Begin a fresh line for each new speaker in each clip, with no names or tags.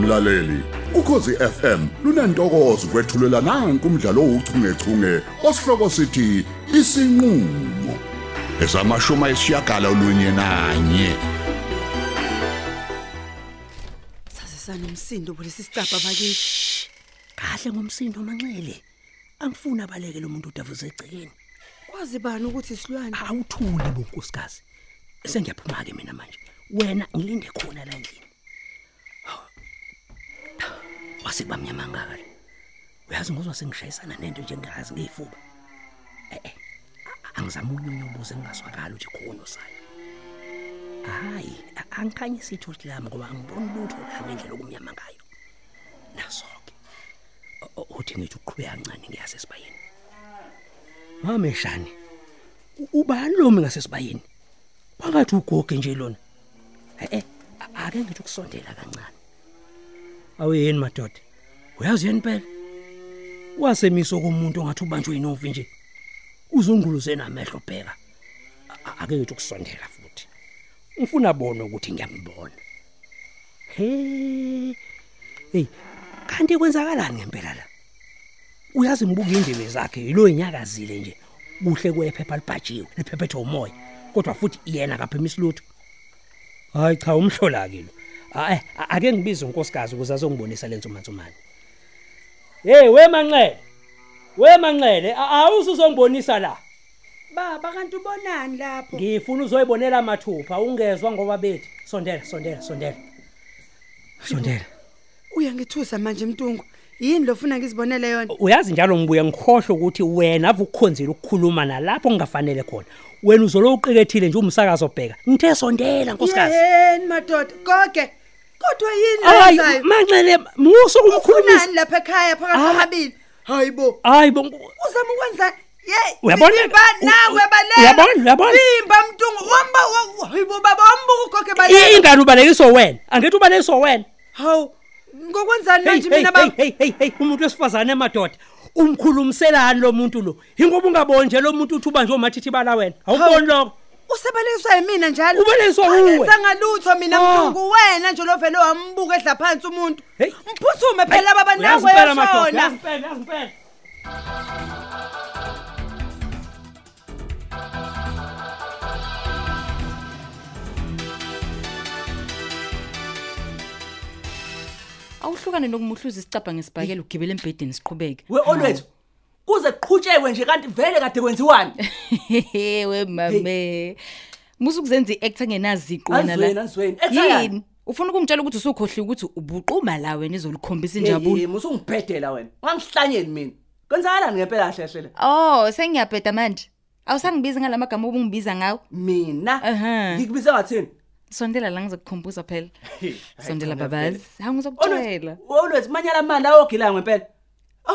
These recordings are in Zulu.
mlaleli ukhosi FM lunantokozo kwethulela nanku umdlalo ouchungechunge osihloko sithi isinqulo esamashuma esiyagala olunye nanye
sasesanomsindo bolesi sicapha bakithi
kahle ngomsindo manxele angifuni abaleke lo muntu udavuze egcekeni
kwazi bani ukuthi silwane
awuthuli bo nkosikazi sengiyaphuma ke mina manje wena ngilinde khona la endlini wase bamnyama ngaka le uyazi ngizwa sengishayisana nento njengazi ngeyifuba eh eh a- angizama unyonyo ubuze ngingaswakala uthi khono sayo hayi a- angikhanye sitho lami ngoba angiboni lutho la ngendlela okumnyama ngayo naso-ke O- o- uthi ngithi uqhubeka kancane ngiyase sibayeni mameshani u- ubani lomi ngasesibayeni phakathi ugoge nje lona e-e a- ake ngithi ukusondela kancane awe yini madoda uyazi yini phela wasemiso komuntu ongathi ubanjwe yinovi nje uzunguluze namehlo bheka A- a- ake ngithi ukusondela futhi ngifuna bona ukuthi ngiyambona he hey kanti kwenzakalani ngempela la uyazi ngibuka indebe zakhe yilo enyakazile nje kuhle kwephepha libhajiwe liphephethe umoya kodwa futhi yena kaphemisi lutho hayi cha umhlola ke lo hayi ake ngibize unkosikazi ukuze azongibonisa lenzo matsumane hey wemanxele wemanxele awuzuzongibonisa la
baba kanti ubonani lapho
ngifuna uzoyibonela mathupha ungezwa ngoba bethi sondela sondela sondela sondela
uyangithusa manje mtungu yini lofuna ngizibonele yona
uyazi njalo ngibuye ngikhohle ukuthi wena ave ukukhonzela ukukhuluma nalapho kungafanele khona wena uzolo uqikethile nje umsakazo bheka ngithe sondela nkosikazi
yeni madoda goge kodwa yini
hayi
lenzayo
manxele muso kumkhulumisa
kunani lapha ekhaya phakathi kwababili
Ah.
hayi bo
hayi bo nk-
uzama ukwenza ye
Uyabona-
vimba
u-
nawe
u-
balela
uyabona- uyabona?
vimba mtungu wamba wa- hayi bo baba wambuka ugoge
i-
balela
ingane ubalekiswa wena angithi ubalekiswa wena
hawu ngokwenzani
Hey,
manje
hey,
mina
hey,
baba
hey, hey, hey, umuntu wesifazane emadoda umkhulumiselani lo muntu lo ingoba ungaboni nje lo muntu uthi ubanjwe omathithi bala wena awuboni lokho
usebaliswa yimina njalo
Ubaliswa uwe.
ngalutho mina
Ah.
mtungu wena nje lovele wambuka edla phansi umuntu
Hey.
mphuthume phela baba
Uyazi impela madoda,
nawe
uyazi
yashona
impela, uyazi impela.
awuhlukane nokumuhluza isicabha ngesibhakela ugibela embhedeni siqhubeke
we olwethu kuze kuqhutshekwe nje kanti vele kade kwenziwani
we mame musu kuzenza i-actor ngenaziqo wena
Azweni,
la.
azweni. Actor yani?
Yini? ufuna ukumtshela ukuthi usukhohliwe ukuthi ubuquma la wena izolikhombisa injabulo
musungibhedela wena ungangihlanyeli mina kwenzakalani ngempela hlehlele
oh sengiyabheda manje awusangibizi ngala magama obungibiza ngawo
mina
Ehhe.
ngikubize ngathini
sondela la ngizokukhumbuza phela
Hey, hayi
sondela
cha,
babazi hawu ngizokutshela
Olwethu- olwethu manyala mani awogilayo ngempela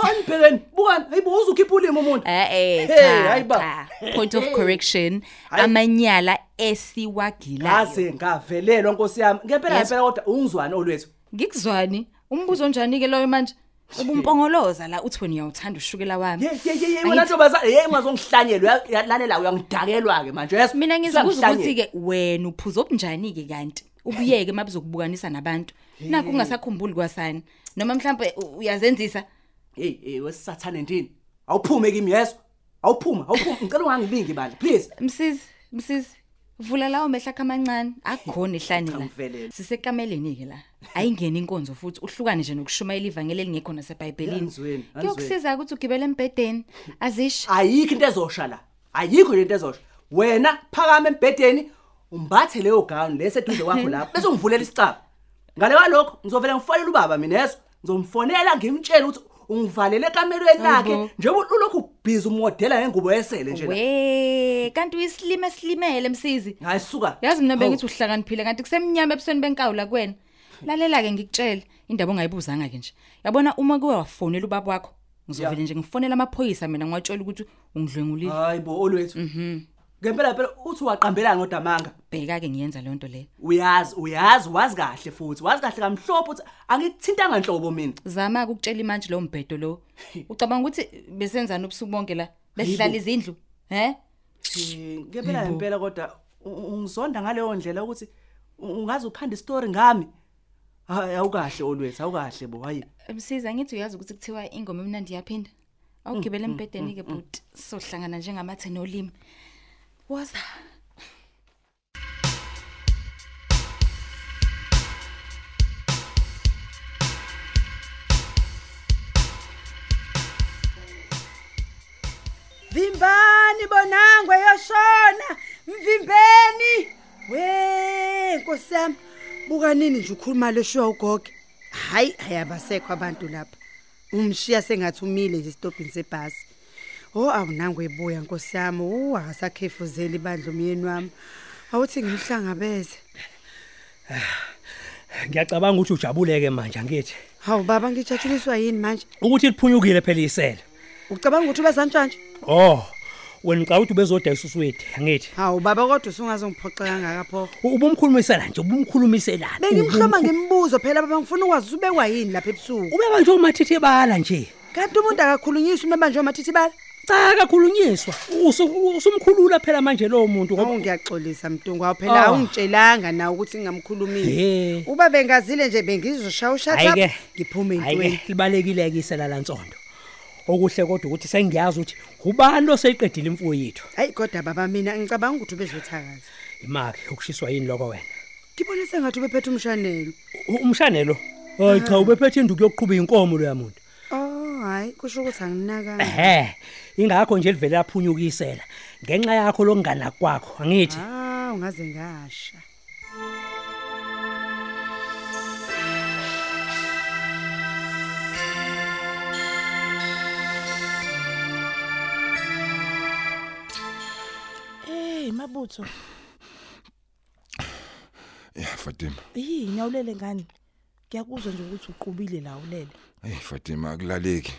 anibhekeni bukani hayi bo uzukhipha ulimi umuntu
Eh eh
Hey,
cha
hayi ba.
cha point of correction
Hayi.
amanyala esiwagilayo
ngase ngavelelwa nkosi yami ngempela
Yes.
ngempela kodwa ungizwani olwethu
ngikuzwani umbuzo njani ke loyo manje ubumpongoloza la uthi wena uyawuthanda ushukela wami
Ye- ye- ye- ye, wena ntombazane ye ungazongihlanyela uyalanela uyangidakelwa-ke manje yes
mina ngizibuza ukuthi-ke wena uphuza obunjani-ke kanti ubuyeke uma buzokubukanisa nabantu nakho ungasakhumbuli kwasani noma mhlawumbe u- uyazenzisa
heyi eyi wesisathane ndini awuphume kimi yeso awuphume awuphume ngicela ungangibingi bandla please
msizi msizi vula lawo mehla akho amancane akukhona ehlane la
Chamvelele.
sisekameleni-ke la ayingeni inkonzo futhi uhlukane nje nokushumayela ivangeli elingekhona sebhayibhelini
Anizweni, anizweni.
kuyokusiza-ke ukuthi ugibele embhedeni azisha
ayikho into ezosha la ayikho nje into ezosha wena phakama embhedeni umbathe leyo gawuni leseduze kwakho lapho bese ungivulela isicaba ngale kwalokho ngizovele ngifonele ubaba mina yeso ngizomfonela ngimtshele ukuthi ungivalele ekamerweni lakhe
Hayibo.
njengoba ulokhu ubhize umodela ngengubo yesele nje la.
we kanti uyisilima esilimele msizi
hayi suka
yazi mina
Hawu.
bengithi uhlakaniphile kanti kusemnyama ebusweni benkawula kuwena lalela-ke ngikutshele indaba ongayibuzanga-ke nje yabona uma kuwe wafonela ubaba wakho ngizovele
Ya. Ah.
nje ngifonela amaphoyisa mina ngiwatshela ukuthi ungidlwengulile
hayi bo olwethu ngempela phela uthi waqambelana nodamanga
bheka-ke ngiyenza leyo nto leyo
uyazi uyazi wazi kahle futhi wazi kahle kamhlophe ukuthi angikuthintanga nhlobo mina
zama-ke ukutshela imanje lowo mbhedo lowo ucabanga ukuthi besenzani ubusuku bonke la besihlala izindlu he
Eh, ngempela ngempela kodwa u- u- ungizonda ngaleyo ndlela ukuthi u- ungaze uphanda isitori ngami hayi awukahle olwethu awukahle bo hayi
msiza ngithi uyazi ukuthi kuthiwa ingoma emnandi iyaphinda awugibela
Mm,
embhedeni ke but sohlangana njengamathe nolimi woza
vimbani bonangwe yoshona mvimbeni we nkosi yami buka nini nje ukhuluma leshiwa ugoge hayi ayabasekho abantu lapha umshiya sengathi umile nje esitobhini sebhasi o awunangwe ebuya nkosi yami u akasakhefuzeli bandla umyeni wami awuthi ngimhlangabeze
ngiyacabanga ukuthi ujabuleke manje angithi
hawu baba ngijatshuliswa yini manje
ukuthi liphunyukile phela isela
ucabanga ukuthi ubezantshanje
oh wena ngicabanga ukuthi ubezodayisa uswidi angithi
hawu baba kodwa usungazongiphoxa kangaka pho
U- ubumkhulumisela nje ubumkhulumiselana
bengimhloma ngemibuzo phela baba ngifuna ukwazi ukuthi ubekwa yini lapha ebusuku
ube manje umathithi bala nje
kanti umuntu akakhulunyiswa uma nje omathithi bala
cha kakhulunyiswa Usu- usumkhulula phela manje lowo muntu
awu
ngoba
ngiyaxolisa mtungu awu phela
Oh.
awungitshelanga nawe ukuthi ngingamkhulumile
He.
uba bengazile nje bengizoshaya ushatha
Hayi-ke.
ngiphume
hayi
entweni
ke libalekile ke isela lansondo okuhle kodwa ukuthi sengiyazi ukuthi ubani oseyiqedile imfuyo yethu
hayi kodwa baba mina ngicabanga ukuthi ubezothakaza
imaki ukushiswa yini lokho wena
ngibone sengathi ubephethe umshanelo
U- umshanelo hayi
Ah.
cha ubephethe induku yokuqhuba inkomo loya muntu
oh hhayi kusho ukuthi anginakanga
ehe ingakho nje livele laphunyukisela ngenxa yakho lokungana kwakho angithi
hawu ngaze ngasha
Hey mabutho,
Ya Fatima.
yini awulele ngani? Ngiyakuzwa nje ukuthi uqubile la ulele.
Hey Fatima akulaleki.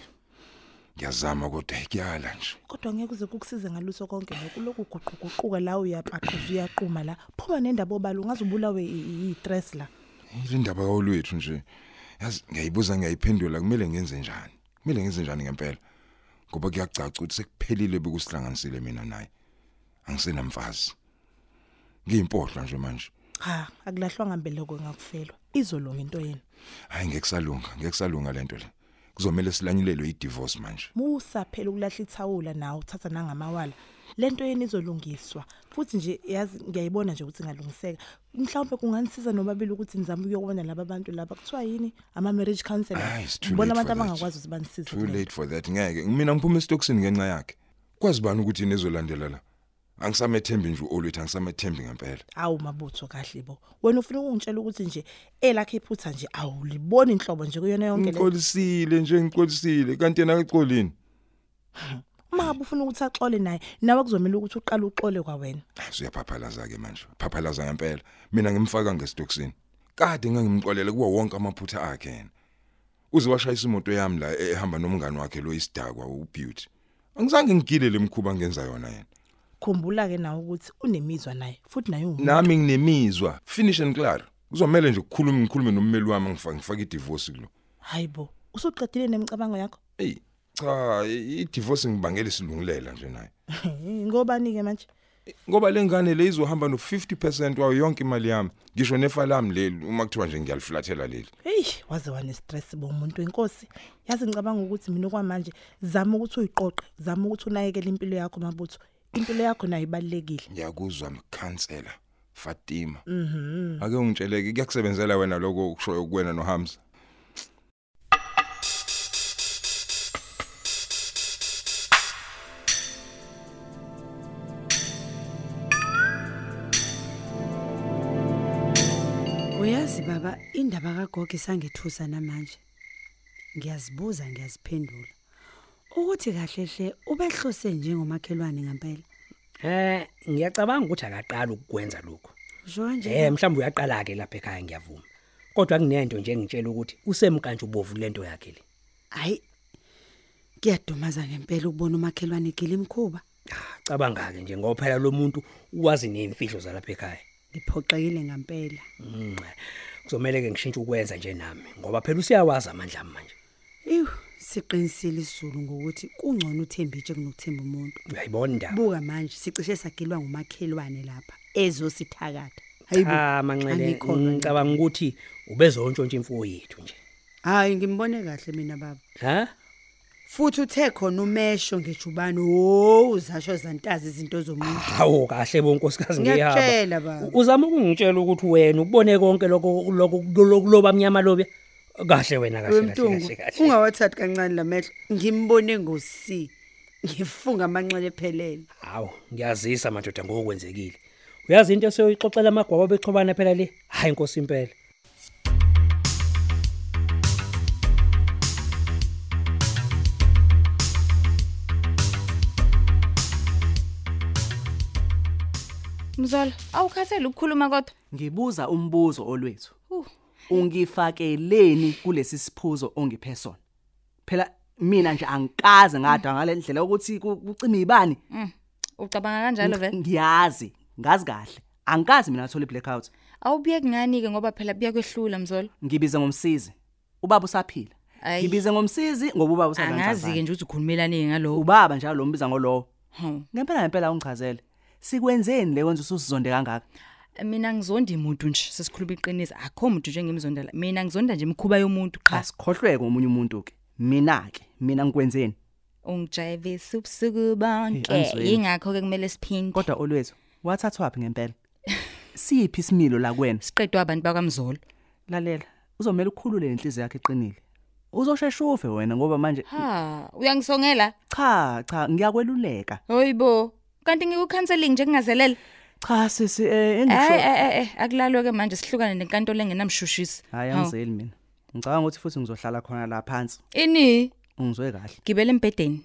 Ngiyazama kodwa ikuyala nje.
Kodwa ngeke uze kukusize ngaluso konke lokhu lokhu guquguquka la uyapaqhuza uyaquma la. Phuma nendaba obala ungazubulawe i-stress la.
Ile ndaba yolwethu nje. Yazi ngiyayibuza ngiyayiphendula kumele ngenze njani? Kumele ngenze njani ngempela? Ngoba kuyacaca ukuthi sekuphelile bekusihlanganisile mina naye. Angisenamfazi. Ngiyimpohla nje manje.
Cha, akulahlwa ngambeleko ngakufelwa. Izolo ngento yena.
Hayi ngekusalunga, ngekusalunga lento le. Kuzomela silanyulelwe idivorce manje.
Musa phela ukulahla ithawula nawe uthatha nangamawala. Lento yena izolungiswa. Futhi nje yazi ngiyayibona nje ukuthi ingalungiseka. Mhlawumbe kunganisiza nobabili ukuthi nizame ukuyobona laba bantu laba kuthiwa yini ama marriage
Hayi,
counselors.
Ah, it's too
Bona
late
abantu
for that.
abangakwazi ukuthi banisize.
Too
kulento.
late for that ngeke. Mina ngiphuma esitokisini ngenxa yakhe. Kwazi bani ukuthi nizolandela la? Angisamethembi nje uolwethu angisamethembi ngempela.
awu mabutho kahle bo wena ufuna ukungitshela ukuthi nje elakhe iphutha nje awuliboni inhlobo nje kuyona yonke le
Ngixolisile nje ngixolisile kanti yena akaxolini.
uma ngabe ufuna ukuthi axole naye nawe kuzomela ukuthi uqale uxole kwawena
Usuyaphaphalaza ke Ah, manje. Phaphalaza ngempela. Mina ngimfaka ngesitokisini. Kade ngangimxolele kuwo wonke amaphutha akhe yena. Uze washayisa imoto yami la e-, ehamba nomngani wakhe lo isidakwa uBeauty. Angizange ngigile lemkhuba ngenza yona yena.
khumbula-ke nawe ukuthi unemizwa naye futhi naye ungumuntu.
nami nginemizwa finish and clear kuzomela nje ukukhuluma ngikhulume nommeli wami ngifake ngifake idivorce kulo
hhayi bo usuqedile nemicabango yakho
hey cha i- idivorce ngibangela isilungulela nje naye
ngobani-ke manje
ngoba lengane le izohamba no 50% wayo yonke imali yami ngisho nefa lami leli uma kuthiwa nje ngiyaliflathela leli
eyi waze wanestress bo muntu wenkosi yazi ngicabanga ukuthi mina okwamanje zama ukuthi uyiqoqe zama ukuthi unakekele impilo yakho mabutho impilo yakho nayo ibalulekile
ngiyakuzwa mkhansela Fatima mhm ake ungitsheleke kuyakusebenzela wena lokho ukushoyo kuwena noHamza
uyazi baba indaba kagogo isangethusa namanje ngiyazibuza ngiyaziphendula ukuthi kahle hle ubehlose njengomakhelwane ngempela
eh ngiyacabanga ukuthi akaqala ukukwenza lokho
usho kanje
Eh mhlawumbe uyaqala ke lapha ekhaya ngiyavuma. Kodwa kunento nje ngitshela ukuthi usemkanje ubovu lento yakhe le.
hayi kuyadumaza ngempela ukubona umakhelwane egile imkhuba
Ah, Cabanga ke nje ngoba phela lo muntu uwazi nemfihlo zalapha ekhaya.
ngiphoxekile ngempela
Mm, Kuzomele ke ngishintshe ukwenza nje nami ngoba phela usiyawazi amandla ami manje.
iwu siqinisile isizulu ngokuthi kungcono uthembitshe kunokuthemba umuntu
Uyayibona indaba.
buka manje sicishe sagilwa ngumakhelwane lapha ezosithakatha Hayi bo.
Ah manxele
Angikholwa.
ngicabanga ukuthi ubezontshontsa imfuyo yethu nje.
Hayi ngimbone kahle mina baba.
Ha?
Futhi uthe khona umesho ngejubane. Ho, uzasho zantazi izinto zomuntu.
Hawo kahle bonkosikazi
Ngiyakutshela, baba.
U- Uzama ukungitshela ukuthi wena ukubone konke lokho lokho loba mnyama lobya. Kahle wena kahle
Wemtungu
kahle kahle.
ungawathathi kancane lamehlo. Ngimbone ngosi. Ngifunga amanxele ephelele.
Hawu ngiyazisa madoda ngokwenzekile. Uyazi into esiyoyixoxela amagwaba bexhobana phela le. Hayi inkosi impela.
Mzala, awukhathele ukukhuluma kodwa.
Ngibuza umbuzo olwethu.
Uh,
Ungifakeleni kulesi siphuzo ongiphe sona. Phela mina nje angikaze ngadwa ngalendlela ukuthi ku- kucima ibani.
mm. Ucabanga kanjalo vele?
Ngiyazi, ngazi kahle. Angikazi mina ngathola i-blackout.
Awubuye kungani ke ngoba phela buyakwehlula mzala.
Ngibize ngomsizi. Ubaba usaphila.
Ayi.
Ngibize ngomsizi ngoba ubaba usalanja.
Angazi ke nje ukuthi ukhulumelane ngalowo.
ubaba njalo lo mbiza ngolowo.
Hawu.
Ngempela ngempela ungichazele. Sikwenzeni le wenza ususizonde kangaka?
Mina ngizonda imuntu nje, sesikhuluma iqiniso. Akho umuntu njengemzonda la. Mina ngizonda nje imkhuba yomuntu
Cha
qha.
sikhohlwe ngomunye umuntu ke. Mina ke, mina ngikwenzeni?
Ungijayivisa ubusuku bonke.
angizweni.
Ingakho ke kumele siphinde.
Kodwa olwethu, wathathwa phi ngempela? Siphi isimilo la kwena?
siqedwe abantu bakwamzolo.
Lalela, uzomela ukukhulule lenhliziyo yakhe iqinile. Uzoshesha ufe wena ngoba manje
Ha, uyangisongela?
cha cha ngiyakweluleka.
Hoyibo. Kanti ngikucounseling nje kungazelele.
Cha sisi eh
Eh
endisho.
eh eh akulalwe ke manje sihlukane nenkantolo engenamshushisi.
Hayi
Hawu.
angizeli mina. Ngicabanga ukuthi futhi ngizohlala khona la phansi.
Ini?
Ungizwe kahle.
Gibele embedeni.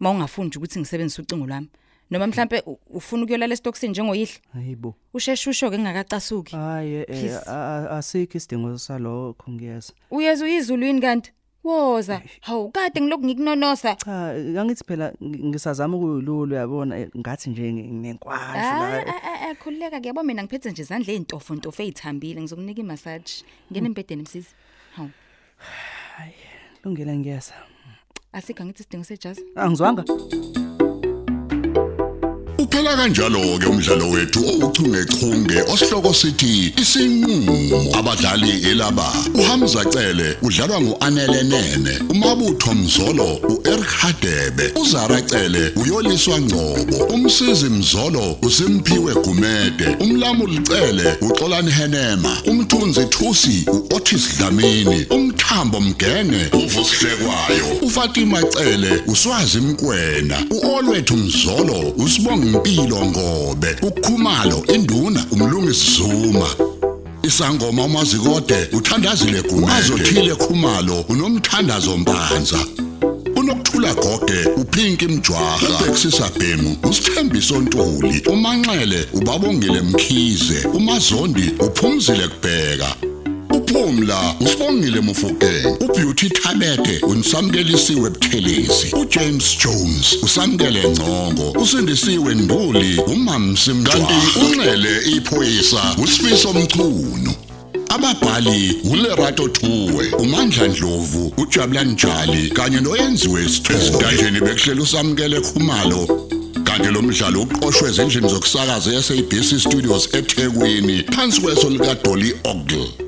Mawungafuni nje ukuthi ngisebenzise ucingo lwami. Noma mhlambe u- ufuna ukuyolala esitokisini njengoyihle.
Hayibo.
Usheshusho ke ngakacasuki.
Hayi eh
Please.
a- a- asikho isidingo salokho ngiyeza.
Uyezwa izulwini kanti? Woza. Hawu kade ngilokhu ngikunonosa.
Cha angithi phela ngi- ngisazama ukuyilulu yabona eh, ngathi nje ngi- nginenkwashu
Ah,
la.
ah, ah, ah, khululeka kuyabo mina ngiphethe nje izandla ezintofu ntofu ezithambile ngizokunika imassage. Ngena embedeni msisi. Hawu.
Lungile ngiyeza.
Asikho ngithi sidingo sejazi.
Angizwanga.
Uphela kanjalo ke umdlalo wethu ouchungechunge osihloko sithi isinqulo abadlali elaba uHamza Cele udlalwa nguAnele Nene uMabutho Mzolo uEric Hadebe uZara Cele uyoliswa Ngcobo umsizi Mzolo uSimpiwe Gumede umlamo ulicele uXolani Henema umthunzi Thusi uOtis Dlamini umthambo Mgene uvusihlekwayo uFatima Cele uswazi Mkwena uOlwethu Mzolo usibonga impilo ngobe ukhumalo induna umlungisi Zuma Isangoma umazikode uthandazile gumazo thile khumalo unomthandazo mpanza unokuthula gogwe uphinki mjwaha ubexisa bhemu usithembiso ntuli umanxele ubabongile mkhize umazondi uphumzile kubheka uphumla usibongile mufukeng ubeauty thabete unisamkelisiwe buthelezi ujames jones usamkele ngcongo usindisiwe nduli umamsimjwaha kanti unxele iphoyisa usifiso mchunu Ababhali uLerato Thuwe, uMandla Dlovu, uJabulani Njali kanye noyenziwe Sithole. Kanjeni bekuhlela usamkele khumalo. Kanti lo mdlalo uqoqwwe ezindlini zokusakaza yaseBC Studios eThekwini phansi kweso lika Dolly Ogle.